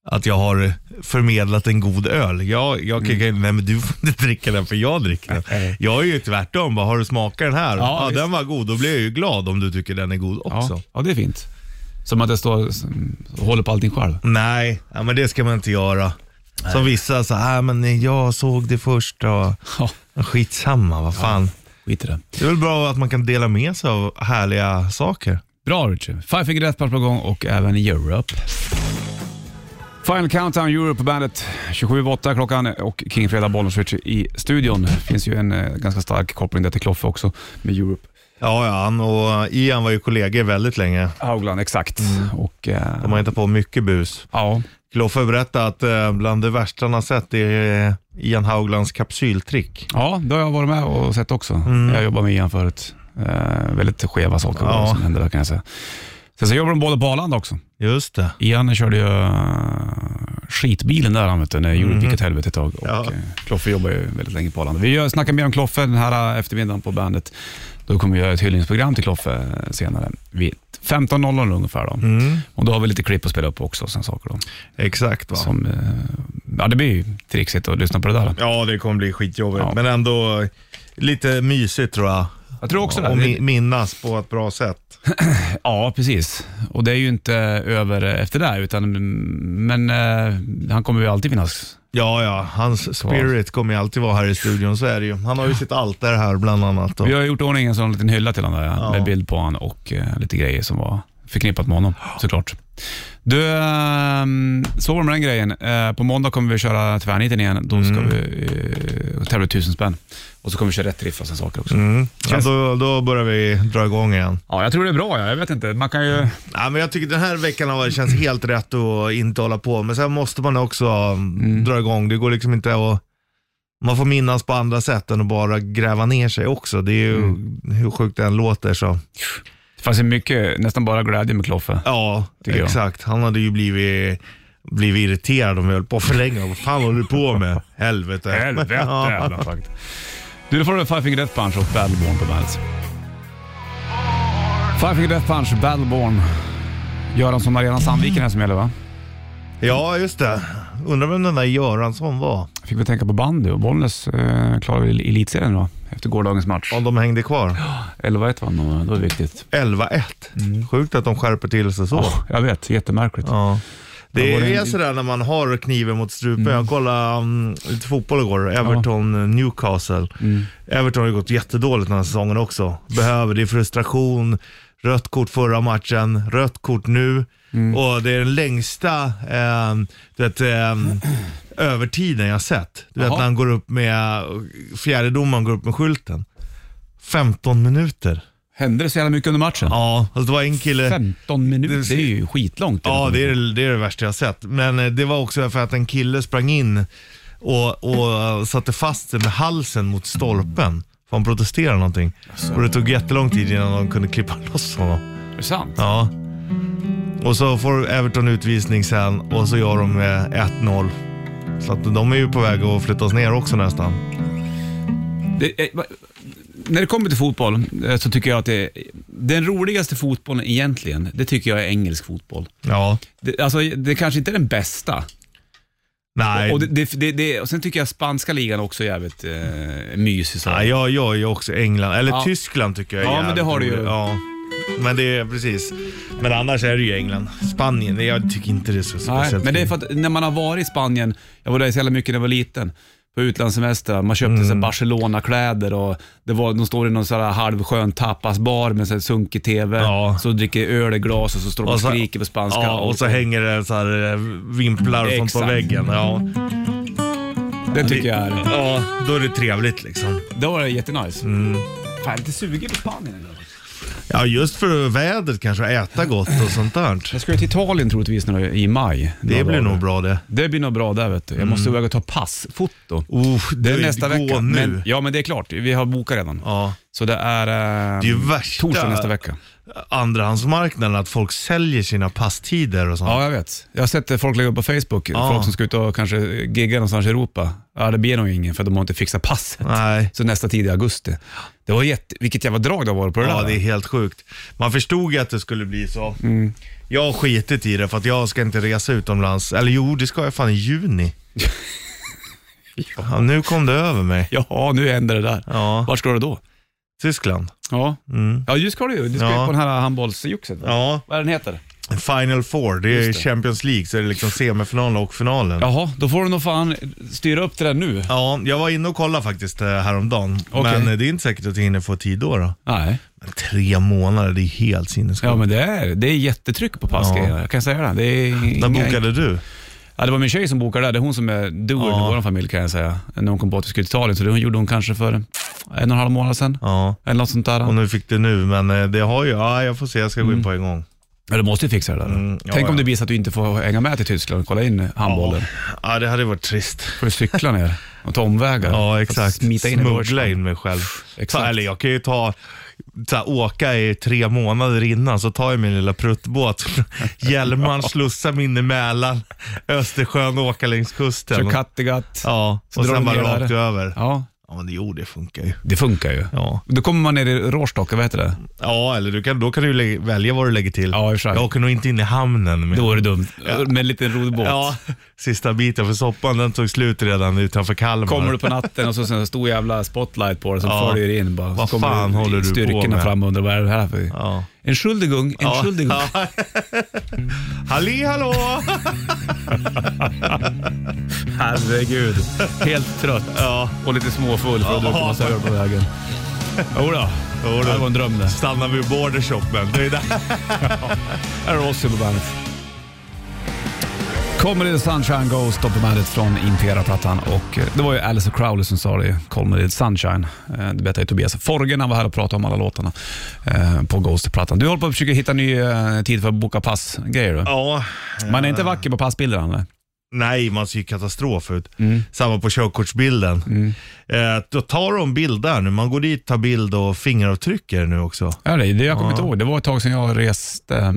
[SPEAKER 3] att jag har förmedlat en god öl. Jag, jag kan, Nej, men du får inte dricka den för jag dricker den.
[SPEAKER 2] Mm. Nej.
[SPEAKER 3] Jag är ju tvärtom. Bara, har du smakat den här?
[SPEAKER 2] Ja,
[SPEAKER 3] Ja,
[SPEAKER 2] visst.
[SPEAKER 3] den var god. Då blir jag ju glad om du tycker den är god också.
[SPEAKER 2] Ja, ja, det är fint. Som att jag står och håller på allting själv.
[SPEAKER 3] Nej, ja, men det ska man inte göra. Som vissa så här, men jag såg det först och
[SPEAKER 2] Ja,
[SPEAKER 3] skitsamma, vad fan.
[SPEAKER 2] skit i det.
[SPEAKER 3] Det är väl bra att man kan dela med sig av härliga saker.
[SPEAKER 2] Bra Richie. Five Finger Death Punch på gång och även Europe. Final Countdown Europe på bandet. 27.08 klockan och King Fredag Bollnäs Richie i studion. Det finns ju en eh, ganska stark koppling där till Kloffe också med Europe.
[SPEAKER 3] Ja, ja, han och Ian var ju kollegor väldigt länge.
[SPEAKER 2] Haugland, exakt. Och, eh,
[SPEAKER 3] Mm. De har hittat på mycket bus.
[SPEAKER 2] ja,
[SPEAKER 3] Kloffe berättade att eh, bland det värsta han har sett är eh, Ian Hauglands kapsyltrick.
[SPEAKER 2] ja, det har jag varit med och sett också. Jag jobbade med Ian förut. Eh, väldigt skeva saker
[SPEAKER 3] Mm. Ja.
[SPEAKER 2] som hände där kan jag säga. Sen så jobbar de båda på Arlanda också.
[SPEAKER 3] Just det.
[SPEAKER 2] Ian körde ju eh, skitbilen där han vet du, när Europe gick åt helvete ett tag. Och,
[SPEAKER 3] Mhm. Ja.
[SPEAKER 2] eh, Kloffe jobbar ju väldigt länge på Arlanda. Vi gör, snackar mer om Kloffe den här eh, eftermiddagen på bandet. Då kommer vi göra ett hyllningsprogram till Kloffe eh, senare. Vid 15.00 ungefär då.
[SPEAKER 3] Mm.
[SPEAKER 2] Och då har vi lite klipp att spela upp också och sen saker då.
[SPEAKER 3] Exakt va.
[SPEAKER 2] Som, eh, ja, det blir ju trixigt att lyssna på det där.
[SPEAKER 3] Ja, det kommer bli skitjobbigt.
[SPEAKER 2] Ja.
[SPEAKER 3] Men ändå eh, lite mysigt tror jag.
[SPEAKER 2] Jag tror också
[SPEAKER 3] Och
[SPEAKER 2] det.
[SPEAKER 3] mi- minnas på ett bra sätt.
[SPEAKER 2] Ja, precis. Och det är ju inte över efter det, här, utan, men eh, han kommer ju alltid finnas.
[SPEAKER 3] Ja, ja. Hans spirit kommer ju alltid vara här i studion, så är det ju. Han har ju sitt altare här bland annat. Och,
[SPEAKER 2] Vi har gjort i ordning en sån liten hylla till honom där,
[SPEAKER 3] Ja.
[SPEAKER 2] med bild på honom och eh, lite grejer som var förknippat med honom, såklart. Du, eh, så var det med den grejen. Eh, på måndag kommer vi köra tvärniten igen. Då ska
[SPEAKER 3] Mm.
[SPEAKER 2] vi eh, tävla ut tusen spänn. Och så kommer vi köra rätt riff och sen saker också.
[SPEAKER 3] mm. ja, då, då börjar vi dra igång igen.
[SPEAKER 2] Ja, jag tror det är bra. ja. Jag vet inte. Man kan ju...
[SPEAKER 3] Ja, men jag tycker den här veckan har varit- känns helt rätt att inte hålla på, men sen måste man också mm. dra igång. Det går liksom inte att... Man får minnas på andra sätt än att bara gräva ner sig också. Det är ju,
[SPEAKER 2] Mm.
[SPEAKER 3] hur sjukt det än låter så.
[SPEAKER 2] Det fanns ju mycket, nästan bara glädje med Kloffe.
[SPEAKER 3] Ja,
[SPEAKER 2] Tycker jag.
[SPEAKER 3] exakt. Han hade ju blivit, blivit irriterad om vi höll på för länge. Vad fan håller du på med? Helvete.
[SPEAKER 2] Helvete
[SPEAKER 3] Ja.
[SPEAKER 2] jävla faktiskt. Du, då får du Five Finger Death Punch och Battleborn på bandet. Five Finger Death Punch, Battleborn. Göransson Arena Sandviken är det som gäller va?
[SPEAKER 3] Ja, just det. Undrar vem den där Göransson var?
[SPEAKER 2] Fick vi tänka på bandy och Bollnäs eh, klarade väl elitserien då efter gårdagens match.
[SPEAKER 3] Om de hängde kvar.
[SPEAKER 2] 11-1 vann de, det var viktigt.
[SPEAKER 3] 11-1.
[SPEAKER 2] Mm.
[SPEAKER 3] Sjukt att de skärper till sig så.
[SPEAKER 2] Åh, jag vet, jättemärkligt.
[SPEAKER 3] Ja. Typ. Det
[SPEAKER 2] var
[SPEAKER 3] är
[SPEAKER 2] det en-
[SPEAKER 3] sådär när man har kniven mot strupen. Jag kollade um, lite fotboll igår, Everton eh, Newcastle. Everton har ju gått jättedåligt den här säsongen också. Behöver, det är frustration, rött kort förra matchen, rött kort nu. Och det är den längsta eh, du vet, ehm, övertiden jag sett. Du vet
[SPEAKER 2] Jaha.
[SPEAKER 3] när han går upp med, fjärdedomaren går upp med skylten. 15 minuter.
[SPEAKER 2] Hände det så jävla mycket under matchen?
[SPEAKER 3] Ja, alltså det var en kille...
[SPEAKER 2] 15 minuter,
[SPEAKER 3] Det-
[SPEAKER 2] det är ju skitlångt.
[SPEAKER 3] Ja, det är det, det är det värsta jag har sett. Men eh, det var också för att en kille sprang in och, och eh, satte fast sig med halsen mot stolpen. För han protesterade någonting. Och det tog jättelång tid innan de kunde klippa loss honom.
[SPEAKER 2] Är det sant?
[SPEAKER 3] Ja. Och så får Everton utvisning sen och så gör de eh, 1-0. Så att de är ju på väg att flyttas ner också nästan.
[SPEAKER 2] Det, är- eh, va- när det kommer till fotboll eh, så tycker jag att det, den roligaste fotbollen egentligen, det tycker jag är engelsk fotboll.
[SPEAKER 3] Ja.
[SPEAKER 2] Det, alltså, det kanske inte är den bästa.
[SPEAKER 3] Nej,
[SPEAKER 2] Och, det, det, det, det, och sen tycker jag spanska ligan också är jävligt eh, mysig. Så.
[SPEAKER 3] Nej, jag, jag är ju också England. Eller
[SPEAKER 2] Ja.
[SPEAKER 3] Tyskland tycker jag är
[SPEAKER 2] Ja, men det
[SPEAKER 3] jävligt
[SPEAKER 2] har du ju.
[SPEAKER 3] roligt. Ja. Men det är precis. Men annars är det ju England. Spanien, det- jag tycker inte det är så
[SPEAKER 2] Nej,
[SPEAKER 3] speciellt.
[SPEAKER 2] men det är för att när man har varit i Spanien, jag var där så jävla mycket när jag var liten, på utlandssemester. Man köpte mm. Barcelona-kläder och det var, de står i någon sån här halvskön tapasbar med så här sunkig TV.
[SPEAKER 3] Ja.
[SPEAKER 2] Så dricker öl i glas och så står de och
[SPEAKER 3] så-
[SPEAKER 2] skriker på spanska.
[SPEAKER 3] Ja, och så hänger det så här eh, vimplar och sånt på
[SPEAKER 2] Exakt.
[SPEAKER 3] väggen. Ja.
[SPEAKER 2] det tycker jag är...
[SPEAKER 3] ja, då är det trevligt liksom.
[SPEAKER 2] Det var jättenice.
[SPEAKER 3] Mm.
[SPEAKER 2] Fan, jag är lite sugen på Spanien idag.
[SPEAKER 3] Ja, just för vädret kanske, äta gott och sånt där.
[SPEAKER 2] Jag ska ju till Italien troligtvis nu i maj.
[SPEAKER 3] Det
[SPEAKER 2] Några
[SPEAKER 3] blir
[SPEAKER 2] dagar.
[SPEAKER 3] nog bra det.
[SPEAKER 2] Det blir nog bra där vet du. Jag måste iväg och ta passfoto.
[SPEAKER 3] Oh,
[SPEAKER 2] Det är nästa
[SPEAKER 3] gå
[SPEAKER 2] vecka.
[SPEAKER 3] Nu.
[SPEAKER 2] Men, ja, men det är klart. Vi har bokat redan.
[SPEAKER 3] ja.
[SPEAKER 2] Så det är, eh,
[SPEAKER 3] Det är ju värsta
[SPEAKER 2] torsdag nästa vecka.
[SPEAKER 3] andrahandsmarknaden, att folk säljer sina passtider och sånt.
[SPEAKER 2] Ja, jag vet. Jag har sett eh, folk lägga upp på Facebook,
[SPEAKER 3] Ja.
[SPEAKER 2] folk som ska ut och kanske gigga någonstans i Europa. Ja, det blir nog ingen för de har inte fixat passet.
[SPEAKER 3] Nej.
[SPEAKER 2] Så nästa tid är augusti. Det var jätte, vilket jävla drag det har varit på det
[SPEAKER 3] Ja,
[SPEAKER 2] där.
[SPEAKER 3] det är helt sjukt. Man förstod ju att det skulle bli så.
[SPEAKER 2] Mm.
[SPEAKER 3] Jag har skitit i det för att jag ska inte resa utomlands. Eller jo, det ska jag fan i juni. ja. nu kom det över mig.
[SPEAKER 2] Ja, nu händer det där.
[SPEAKER 3] Ja,
[SPEAKER 2] Vart ska du då?
[SPEAKER 3] Tyskland.
[SPEAKER 2] Ja,
[SPEAKER 3] Mm.
[SPEAKER 2] ja just ska du ju. Du ska ju
[SPEAKER 3] Ja.
[SPEAKER 2] på den här handbollsjuxet. va?
[SPEAKER 3] Ja,
[SPEAKER 2] Vad är den heter?
[SPEAKER 3] Final Four. Det är
[SPEAKER 2] Just det.
[SPEAKER 3] Champions League, så det är liksom semifinalen och finalen. Ja.
[SPEAKER 2] Jaha, då får du nog fan styra upp det där nu.
[SPEAKER 3] jag var inne och kollade faktiskt eh, häromdagen.
[SPEAKER 2] Okej.
[SPEAKER 3] Men eh, det är inte säkert att jag hinner få tid då. då.
[SPEAKER 2] Nej.
[SPEAKER 3] Men tre månader, det är helt sinnessjukt.
[SPEAKER 2] Ja, men det är, det är jättetryck på passgrejerna. Jag kan säga det. det är
[SPEAKER 3] När
[SPEAKER 2] inga-
[SPEAKER 3] bokade du?
[SPEAKER 2] Ja, det var min tjej som bokade där. Det är hon som är doer
[SPEAKER 3] Ja.
[SPEAKER 2] i vår familj kan jag säga. När hon kom på att vi skulle till Italien. Så det hon gjorde hon kanske för en och en halv månad sedan.
[SPEAKER 3] Ja.
[SPEAKER 2] Eller något sånt där.
[SPEAKER 3] Och nu fick du nu, men eh, det har ju... Ja, jag får se. Jag ska gå in på en gång.
[SPEAKER 2] Ja, du måste ju fixa det där.
[SPEAKER 3] Mm, ja,
[SPEAKER 2] Tänk om
[SPEAKER 3] ja.
[SPEAKER 2] det blir så att du inte får hänga med till Tyskland och kolla in handbollen.
[SPEAKER 3] Ja, det hade varit trist.
[SPEAKER 2] får du cykla ner och ta omvägar.
[SPEAKER 3] Ja, exakt.
[SPEAKER 2] För att Smita in i
[SPEAKER 3] Smuggla
[SPEAKER 2] Deutschland.
[SPEAKER 3] in mig själv.
[SPEAKER 2] Exakt.
[SPEAKER 3] Fan, eller jag kan ju ta, så här, åka i tre månader innan, så tar jag min lilla pruttbåt. Hjälmaren, slussar mig in i Mälaren, Östersjön och åka längs kusten.
[SPEAKER 2] Kör Kattegatt. Ja.
[SPEAKER 3] ja,
[SPEAKER 2] Så
[SPEAKER 3] och
[SPEAKER 2] drar
[SPEAKER 3] sen
[SPEAKER 2] du
[SPEAKER 3] bara
[SPEAKER 2] ner
[SPEAKER 3] rakt
[SPEAKER 2] där.
[SPEAKER 3] över. Ja, men det- jo, det funkar ju.
[SPEAKER 2] det funkar ju.
[SPEAKER 3] Ja,
[SPEAKER 2] Då kommer man ner i Rostock, vad heter det?
[SPEAKER 3] ja eller du kan, då kan du ju lä- välja vad du lägger till.
[SPEAKER 2] Ja, i och för sig.
[SPEAKER 3] jag åker nog inte in i hamnen. Med.
[SPEAKER 2] Då är det dumt. Med en liten roddbåt.
[SPEAKER 3] Ja, sista biten, för soppan den tog slut redan utanför Kalmar.
[SPEAKER 2] Kommer du på natten och så sen en stor jävla spotlight på dig som
[SPEAKER 3] Ja.
[SPEAKER 2] följer in. Bara,
[SPEAKER 3] Vad
[SPEAKER 2] Så kommer
[SPEAKER 3] fan håller du på
[SPEAKER 2] Styrkorna
[SPEAKER 3] med?
[SPEAKER 2] fram och undrar vad är det här för...
[SPEAKER 3] Ja.
[SPEAKER 2] En Schuldigung, en
[SPEAKER 3] Ja.
[SPEAKER 2] Schuldigung.
[SPEAKER 3] Ja. Halli hallå!
[SPEAKER 2] Herregud. Helt trött
[SPEAKER 3] Ja.
[SPEAKER 2] och lite småfull för att ha druckit massa öl på vägen. Jodå,
[SPEAKER 3] Jodå.
[SPEAKER 2] det här var en dröm det.
[SPEAKER 3] Stannar vid bordershopen. Det är där.
[SPEAKER 2] Här är Ozzy på bandet. Comedy Sunshine Ghost och på bandet från Impera-plattan. Och eh, det var ju Alice Crowley som sa det, Comedy Sunshine. Eh, Det berättade ju Tobias Forgen, han var här och pratade om alla låtarna eh, på Ghost-plattan. Du håller på att försöka hitta ny eh, tid för att boka passgrejer du.
[SPEAKER 3] Ja.
[SPEAKER 2] Man är inte vacker på passbilderna eller?
[SPEAKER 3] Nej, man ser ju katastrof ut. Samma på körkortsbilden. Eh, då tar de bild där nu. Man går dit, tar bild och fingeravtrycker nu också.
[SPEAKER 2] Ja, det, det jag kommer inte ihåg. Det var ett tag sedan jag reste eh,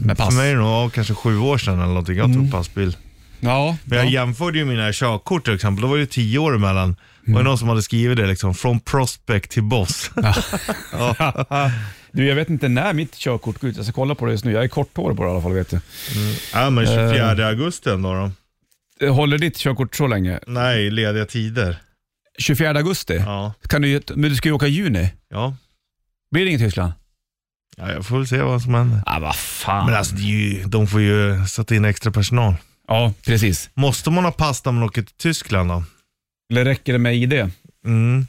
[SPEAKER 2] med pass.
[SPEAKER 3] Mhm. För mig är det nog ja, kanske sju år sedan eller någonting. Jag tog passbild.
[SPEAKER 2] Ja,
[SPEAKER 3] Men jag
[SPEAKER 2] ja.
[SPEAKER 3] jämförde ju mina körkort till exempel. Då var det ju tio år emellan. Det var ju någon som hade skrivit det liksom, från prospect till boss.
[SPEAKER 2] Du, jag vet inte när mitt körkort går ut. Jag ska kolla på det just nu. Jag är korthårig på det i alla fall, vet du.
[SPEAKER 3] ja, men 24 augusti ändå då.
[SPEAKER 2] Håller ditt körkort så länge?
[SPEAKER 3] Nej, lediga tider.
[SPEAKER 2] 24 augusti?
[SPEAKER 3] Ja.
[SPEAKER 2] Kan du, ju- men du ska ju åka i juni.
[SPEAKER 3] Ja.
[SPEAKER 2] Blir det inget Tyskland?
[SPEAKER 3] ja, jag får väl se vad som händer.
[SPEAKER 2] Ja, ah, vad fan.
[SPEAKER 3] Men alltså, det är ju, de får ju sätta in extra personal.
[SPEAKER 2] ja, precis.
[SPEAKER 3] Måste man ha pass när man åker till Tyskland då?
[SPEAKER 2] Eller räcker det med ID?
[SPEAKER 3] Mm.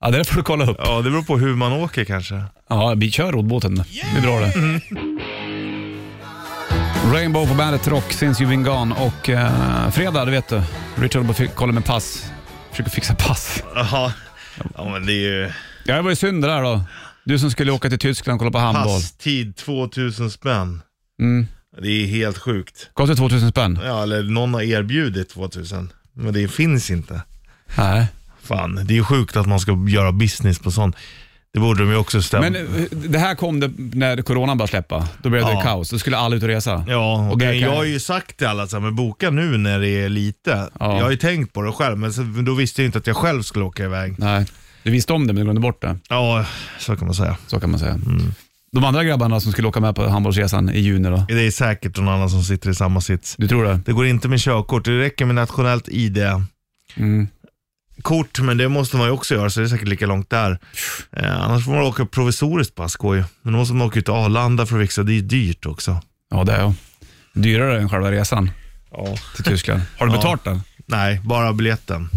[SPEAKER 2] Ja, det där får du kolla upp.
[SPEAKER 3] Ja, det beror på hur man åker kanske.
[SPEAKER 2] Ja, vi kör roddbåten. Det är bra det. Rainbow på bandet Rock, Since You've Been Gone och eh, fredag, det vet du. Richard bara fi- kollar med pass. Försöker fixa pass.
[SPEAKER 3] Jaha. Ja, men det är ju
[SPEAKER 2] Ja, det var ju synd det där då. Du som skulle åka till Tyskland och kolla på handboll.
[SPEAKER 3] passtid 2000 spänn.
[SPEAKER 2] Mm.
[SPEAKER 3] Det är helt sjukt.
[SPEAKER 2] Kostar 2000 spänn?
[SPEAKER 3] Ja, eller någon har erbjudit 2000, men det finns inte.
[SPEAKER 2] Nej.
[SPEAKER 3] Fan, det är ju sjukt att man ska göra business på sånt. Det borde de ju också stämma.
[SPEAKER 2] Men eh, det här kom det när coronan började släppa. Då blev det
[SPEAKER 3] Ja.
[SPEAKER 2] kaos. Då skulle alla ut och resa.
[SPEAKER 3] Ja, och
[SPEAKER 2] Och
[SPEAKER 3] det,
[SPEAKER 2] det kan-
[SPEAKER 3] jag har ju sagt till alla så här, men boka nu när det är lite.
[SPEAKER 2] Ja.
[SPEAKER 3] Jag har ju tänkt på det själv, men så, då visste jag inte att jag själv skulle åka iväg.
[SPEAKER 2] Nej, du visste om det men du glömde bort det.
[SPEAKER 3] Ja, så kan man säga.
[SPEAKER 2] Så kan man säga.
[SPEAKER 3] Mm.
[SPEAKER 2] De andra grabbarna som skulle åka med på handbollsresan i juni då?
[SPEAKER 3] Det är säkert någon annan som sitter i samma sits.
[SPEAKER 2] Du tror det?
[SPEAKER 3] Det går inte med körkort, det räcker med nationellt ID-kort,
[SPEAKER 2] Mm.
[SPEAKER 3] men det måste man ju också göra, så det är säkert lika långt där. Eh, annars får man åka provisoriskt pass, går ju. Men då måste man åka ut till Arlanda för att fixa, det är ju dyrt också.
[SPEAKER 2] Ja, det är jag. Dyrare än själva resan
[SPEAKER 3] Ja.
[SPEAKER 2] till Tyskland. Har du
[SPEAKER 3] Ja.
[SPEAKER 2] betalt den?
[SPEAKER 3] Nej, bara biljetten.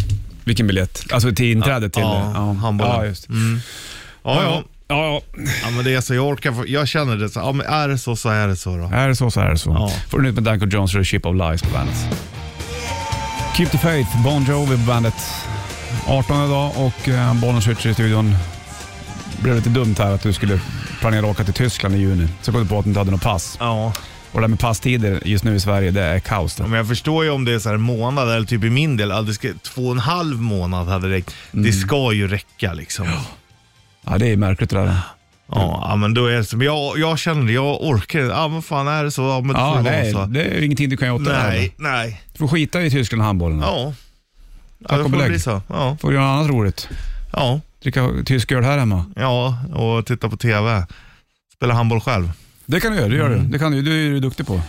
[SPEAKER 2] Vilken biljett? Alltså till inträdet till
[SPEAKER 3] Ja, handbollen. Mm.
[SPEAKER 2] Ja, just det.
[SPEAKER 3] Ja,
[SPEAKER 2] Ja,
[SPEAKER 3] ja.
[SPEAKER 2] ja.
[SPEAKER 3] ja men det är så, jag orkar, få- jag känner det så, ja men är det så så är det så då.
[SPEAKER 2] Är det så så är det så.
[SPEAKER 3] Ja.
[SPEAKER 2] Får du nytt med Danko Jones och Ship of Lies på bandet. Keep the Faith, Bon Jovi på bandet. 18 idag och eh, Bollnäs Ritchie i studion. Det blev lite dumt här att du skulle planera att åka till Tyskland i juni. Så kom du på att du inte hade något pass.
[SPEAKER 3] Ja.
[SPEAKER 2] Och det där med passtider just nu i Sverige, det är kaos. Det.
[SPEAKER 3] Ja, Men jag förstår ju om det är så här en månad, eller typ i min del, ja, det ska, två och en halv månad hade räckt. Det ska ju räcka liksom. Mm. Ja,
[SPEAKER 2] Ja, det är märkligt det där.
[SPEAKER 3] ja, men då är det så. Men jag, jag känner, jag orkar inte. Ja, men fan är det så? Ja, men det får
[SPEAKER 2] Ja,
[SPEAKER 3] det
[SPEAKER 2] nej,
[SPEAKER 3] vara så.
[SPEAKER 2] det är ju ingenting du kan göra åt det här.
[SPEAKER 3] Nej, nej.
[SPEAKER 2] Du får skita i Tyskland och handbollen. Ja.
[SPEAKER 3] Ja.
[SPEAKER 2] Tack
[SPEAKER 3] ja
[SPEAKER 2] och
[SPEAKER 3] det får
[SPEAKER 2] belägg.
[SPEAKER 3] bli så. Ja,
[SPEAKER 2] Får du göra något annat roligt.
[SPEAKER 3] ja,
[SPEAKER 2] Dricka tysk öl här hemma.
[SPEAKER 3] ja, och titta på TV. Spela handboll själv.
[SPEAKER 2] Det kan du göra, det gör
[SPEAKER 3] Mm.
[SPEAKER 2] du. Det kan du, du är du duktig på.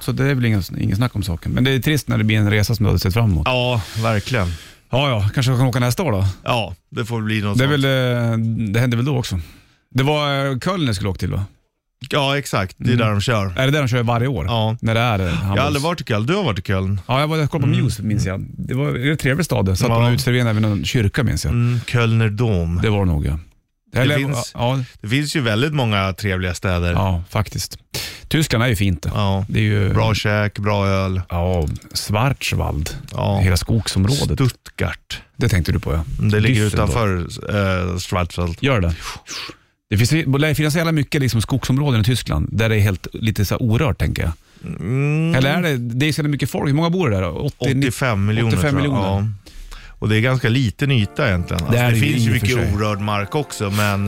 [SPEAKER 2] Så det är väl ingen, ingen snack om saken. Men det är trist när det blir en resa som du hade sett fram emot.
[SPEAKER 3] Ja, verkligen.
[SPEAKER 2] Ja, ja, kanske jag kan åka nästa år då.
[SPEAKER 3] Ja, det får bli något
[SPEAKER 2] Det, är
[SPEAKER 3] sånt.
[SPEAKER 2] väl, eh, det hände väl då också. Det var eh, Köln jag skulle åka till va?
[SPEAKER 3] Ja, exakt. Det är där de kör.
[SPEAKER 2] Är det där de kör varje år?
[SPEAKER 3] Ja.
[SPEAKER 2] När det är eh, Mm. handbolls-
[SPEAKER 3] Jag har aldrig varit i Köln. Du har varit i Köln.
[SPEAKER 2] Ja, jag var och kollade på Muse minns jag. Det var det är en trevlig stad. Jag Satt på
[SPEAKER 3] Ja.
[SPEAKER 2] någon uteservering vid någon kyrka minns jag.
[SPEAKER 3] Mm, Kölner Dom.
[SPEAKER 2] Det var det nog ja. Eller,
[SPEAKER 3] finns-
[SPEAKER 2] ja,
[SPEAKER 3] Det finns ju väldigt många trevliga städer.
[SPEAKER 2] ja, faktiskt. Tyskland är ju fint det.
[SPEAKER 3] Ja.
[SPEAKER 2] Det är ju...
[SPEAKER 3] Bra käk, bra öl.
[SPEAKER 2] Ja, Schwarzwald.
[SPEAKER 3] Ja.
[SPEAKER 2] Hela skogsområdet.
[SPEAKER 3] Stuttgart.
[SPEAKER 2] Det tänkte du på ja.
[SPEAKER 3] Mm, Det ligger
[SPEAKER 2] Düsseldorf.
[SPEAKER 3] utanför eh, Schwarzwald.
[SPEAKER 2] Gör det? Det finns, det finns så jävla mycket liksom skogsområden i Tyskland där det är helt lite så här orört tänker jag.
[SPEAKER 3] Mm,
[SPEAKER 2] Eller är det, det är så jävla mycket folk. Hur många bor det där? 80, 90
[SPEAKER 3] 85 miljoner
[SPEAKER 2] 85
[SPEAKER 3] tror jag.
[SPEAKER 2] miljoner.
[SPEAKER 3] Ja. Och det är ganska liten yta egentligen. Alltså,
[SPEAKER 2] är
[SPEAKER 3] det
[SPEAKER 2] det ju i
[SPEAKER 3] finns ju
[SPEAKER 2] och för sig.
[SPEAKER 3] mycket orörd mark också, men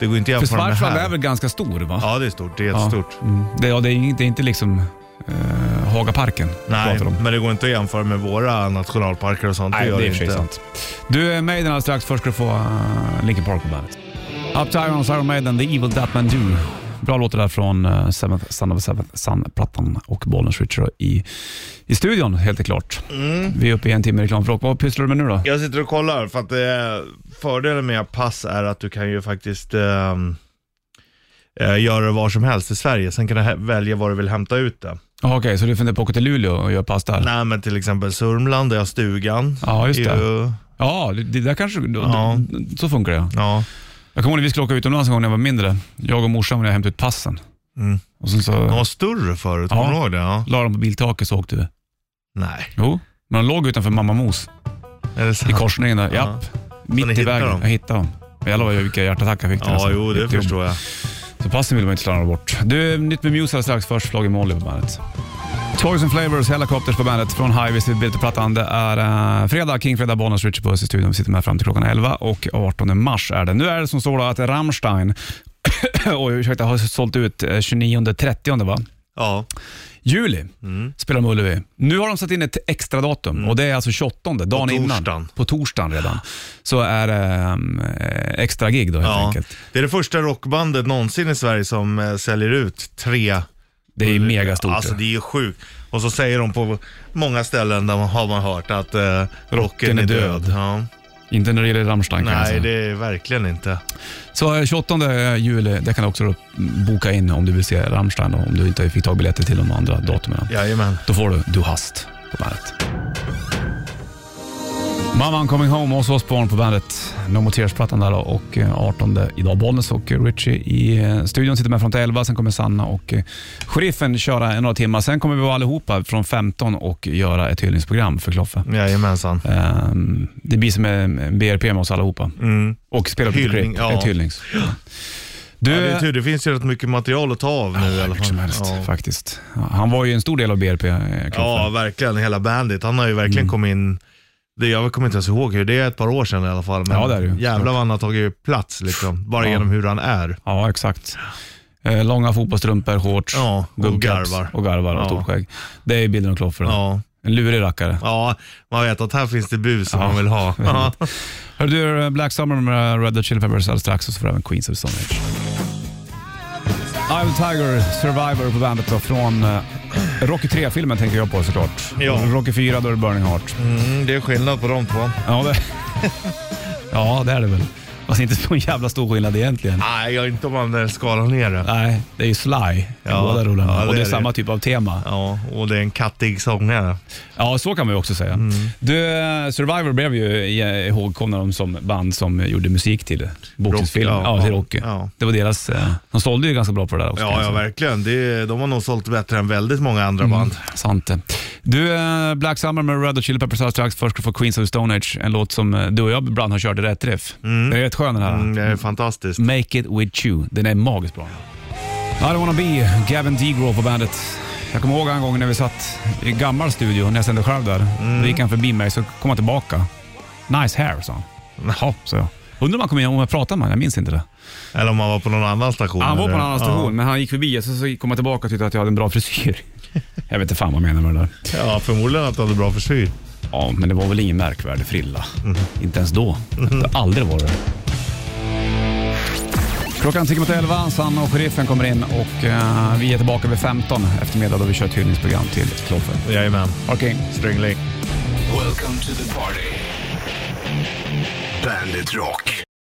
[SPEAKER 3] det går inte att
[SPEAKER 2] För
[SPEAKER 3] jämföra med
[SPEAKER 2] Schwarzwald
[SPEAKER 3] här.
[SPEAKER 2] är väl ganska stor va?
[SPEAKER 3] Ja, det är stort. Det är
[SPEAKER 2] Ja.
[SPEAKER 3] jättestort.
[SPEAKER 2] Mm. Det, ja, det, är, inget- det är inte liksom eh, Hagaparken vi
[SPEAKER 3] Nej,
[SPEAKER 2] pratar om.
[SPEAKER 3] men det går inte att jämföra med våra nationalparker och sånt.
[SPEAKER 2] Nej,
[SPEAKER 3] gör
[SPEAKER 2] det är i
[SPEAKER 3] det
[SPEAKER 2] och för sig
[SPEAKER 3] inte.
[SPEAKER 2] sant. Du, eh, Maiden alldeles strax. Först ska du få eh, Linkin Park på bandet. Uptyrons Iron Maiden, The Evil That Man Do. Bra låt det där från eh, Seventh Son of a Seventh Son-plattan och Bollnäs Richard i, i studion, helt klart.
[SPEAKER 3] Mm.
[SPEAKER 2] Vi är uppe i en timme reklamfråga. Vad pysslar du med nu då?
[SPEAKER 3] Jag sitter och kollar för att eh, fördelen med pass är att du kan ju faktiskt eh, eh, göra det var som helst i Sverige. Sen kan du hä- välja var du vill hämta ut det.
[SPEAKER 2] Jaha, Okej, så du funderar på att åka till Luleå och göra pass där?
[SPEAKER 3] Nej men till exempel Sörmland där jag har stugan.
[SPEAKER 2] Ja, just det.
[SPEAKER 3] Ju-
[SPEAKER 2] Ja, det det där kanske... då-
[SPEAKER 3] Ja.
[SPEAKER 2] då- Så funkar det.
[SPEAKER 3] Ja.
[SPEAKER 2] Jag kommer ihåg när vi skulle åka utomlands en gång när jag var mindre. Jag och morsan när jag hämtade ut passen.
[SPEAKER 3] Mm.
[SPEAKER 2] Och sen så
[SPEAKER 3] De var större förut,
[SPEAKER 2] Ja.
[SPEAKER 3] kommer du ihåg det? Ja.
[SPEAKER 2] la de på biltaket så åkte vi.
[SPEAKER 3] Nej,
[SPEAKER 2] Jo, men de låg utanför Mamma Mos
[SPEAKER 3] är det
[SPEAKER 2] i
[SPEAKER 3] sant?
[SPEAKER 2] korsningen där.
[SPEAKER 3] Ja.
[SPEAKER 2] Japp, mitt
[SPEAKER 3] ni
[SPEAKER 2] i vägen.
[SPEAKER 3] hittade dem?
[SPEAKER 2] Jag hittade dem. Men jag lovar ju vilka hjärtattacker jag fick.
[SPEAKER 3] Ja, jo det förstår jag.
[SPEAKER 2] jag. Så passen vill man inte slarva bort. Du, nytt med Muse alldeles strax. Först Floggy Molly på bandet. Toys and Flavors, Helicopters på bandet från Highways till Bilterplattan. Det är eh, fredag, Kingfredag, Bonus, Richard Puss i studion. Vi sitter med fram till klockan 11 och 18 mars är det. Nu är det som står då att Rammstein, oj ursäkta, har sålt ut eh, 29-30 va?
[SPEAKER 3] Ja.
[SPEAKER 2] Juli
[SPEAKER 3] Mm.
[SPEAKER 2] spelar de Ullevi. Nu har de satt in ett extra datum och det är alltså 28, dagen innan.
[SPEAKER 3] torsdagen.
[SPEAKER 2] På torsdagen redan. Så är det ehm, eh, extra gig då helt
[SPEAKER 3] ja.
[SPEAKER 2] enkelt.
[SPEAKER 3] Det är det första rockbandet någonsin i Sverige som eh, säljer ut tre
[SPEAKER 2] Det är ju megastort.
[SPEAKER 3] Alltså det är ju sjukt. Och så säger de på många ställen där man har man hört att eh, rocken,
[SPEAKER 2] Rocken är
[SPEAKER 3] är
[SPEAKER 2] död.
[SPEAKER 3] död. Ja.
[SPEAKER 2] Inte när det gäller Rammstein kan jag
[SPEAKER 3] Nej,
[SPEAKER 2] säga.
[SPEAKER 3] det är verkligen inte.
[SPEAKER 2] Så eh, 28 juli, det kan du också boka in om du vill se Rammstein då, om du inte fick tag biljetter till de andra datumen.
[SPEAKER 3] Jajamän.
[SPEAKER 2] Då får du Du hast på bandet. Mamman coming home och så Osbourne på bandet. No Moteers-plattan där då och eh, 18 idag. Bollnäs och Richie i eh, studion sitter med fram till 11. Sen kommer Sanna och eh, sheriffen köra en några timmar. Sen kommer vi vara allihopa från 15 och göra ett hyllningsprogram för Kloffe.
[SPEAKER 3] Jajamensan.
[SPEAKER 2] Ehm, det blir som en en BRP med oss allihopa.
[SPEAKER 3] Mm.
[SPEAKER 2] Och spela upp ett
[SPEAKER 3] Hyllning,
[SPEAKER 2] klipp.
[SPEAKER 3] ja.
[SPEAKER 2] Ett hyllnings. Du,
[SPEAKER 3] Ja, det är tur, det finns ju rätt mycket material att ta av nu i
[SPEAKER 2] hur
[SPEAKER 3] alla
[SPEAKER 2] mycket
[SPEAKER 3] fall.
[SPEAKER 2] som helst
[SPEAKER 3] ja.
[SPEAKER 2] faktiskt. Han var ju en stor del av BRP, eh, Kloffe. Mm.
[SPEAKER 3] ja, verkligen. Hela bandet. Han har ju verkligen kommit in Det, jag kommer inte ens ihåg hur det är ett par år sedan i alla fall. Men
[SPEAKER 2] Ja, det är det ju.
[SPEAKER 3] Jävlar vad han har tagit plats liksom. Bara
[SPEAKER 2] Ja.
[SPEAKER 3] genom hur han är.
[SPEAKER 2] Ja, exakt. Eh, långa fotbollstrumpor, shorts,
[SPEAKER 3] Ja, och
[SPEAKER 2] gubbcaps
[SPEAKER 3] garvar.
[SPEAKER 2] och, garvar och
[SPEAKER 3] Ja.
[SPEAKER 2] stort skägg. Det är bilden av Kloffer.
[SPEAKER 3] Ja.
[SPEAKER 2] En lurig rackare.
[SPEAKER 3] ja, man vet att här finns det bus som
[SPEAKER 2] Ja. Mm.
[SPEAKER 3] man vill ha. Ja.
[SPEAKER 2] Hör du, eh, Black Summer med Red Hot Chili Peppers alldeles strax och så får du även Queens of the Stone Age. Ivan Tiger, Survivor på bandet då, från eh, Rocky 3-filmen tänker jag på såklart.
[SPEAKER 3] Ja.
[SPEAKER 2] Rocky 4, då är det Burning Heart.
[SPEAKER 3] Mm, det är skillnad på de två.
[SPEAKER 2] Ja, det, ja, det är det väl. Fast inte så jävla stor skillnad egentligen.
[SPEAKER 3] Nej, jag inte om man eh, skalar ner det.
[SPEAKER 2] Nej, det är ju Sly i
[SPEAKER 3] Ja,
[SPEAKER 2] båda rollerna.
[SPEAKER 3] ja, det
[SPEAKER 2] och det är,
[SPEAKER 3] är det.
[SPEAKER 2] samma typ av tema.
[SPEAKER 3] Ja, och det är en kattig sångare.
[SPEAKER 2] Ja, så kan man ju också säga.
[SPEAKER 3] Mm.
[SPEAKER 2] Du, eh, Survivor blev ju i- ihågkomna de som band som gjorde musik till boxningsfilm.
[SPEAKER 3] Rock, ja,
[SPEAKER 2] ja, till
[SPEAKER 3] ja,
[SPEAKER 2] Rocky.
[SPEAKER 3] ja.
[SPEAKER 2] Det var deras... eh, De sålde ju ganska bra på det där också. kan
[SPEAKER 3] Ja,
[SPEAKER 2] jag
[SPEAKER 3] ja
[SPEAKER 2] säga. Mm.
[SPEAKER 3] verkligen. Det, de har nog sålt bättre än väldigt många andra band.
[SPEAKER 2] Sant det. Du, eh, Black Summer med Red Hot Chili Peppers alldeles strax. Först ska du få Queens of the Stone Age, en låt som eh, du och jag ibland har kört i rätt träff. Det är rätt skön den här.
[SPEAKER 3] Mm, det är fantastiskt.
[SPEAKER 2] Make It With You. Den är magiskt bra. I don't wanna be Gavin DeGraw på bandet. Jag kommer ihåg en gång när vi satt i gammal studio, när jag sände själv där. Då gick han förbi mig, så kom han tillbaka. Nice hair, sa han. Jaha, sa jag. Undrar om han kom in, om jag pratade med honom, jag minns inte det.
[SPEAKER 3] Eller om man var på någon annan station.
[SPEAKER 2] Han var på en
[SPEAKER 3] eller?
[SPEAKER 2] annan station, men han gick förbi och så, så kom han tillbaka och tyckte att jag hade en bra frisyr. Jag vet inte fan vad han menar med det där.
[SPEAKER 3] Ja, ja förmodligen att du hade bra frisyr.
[SPEAKER 2] Ja, men det var väl ingen märkvärdig frilla. Inte ens då. Det har aldrig varit det. Klockan tickar mot 11, Sanna och sheriffen kommer in och eh, vi är tillbaka vid 15 eftermiddag då vi kör ett hyllningsprogram till Kloffer.
[SPEAKER 3] Jajamän.
[SPEAKER 2] Okej.
[SPEAKER 3] Strängling.
[SPEAKER 4] Welcome to the party. Bandit Rock.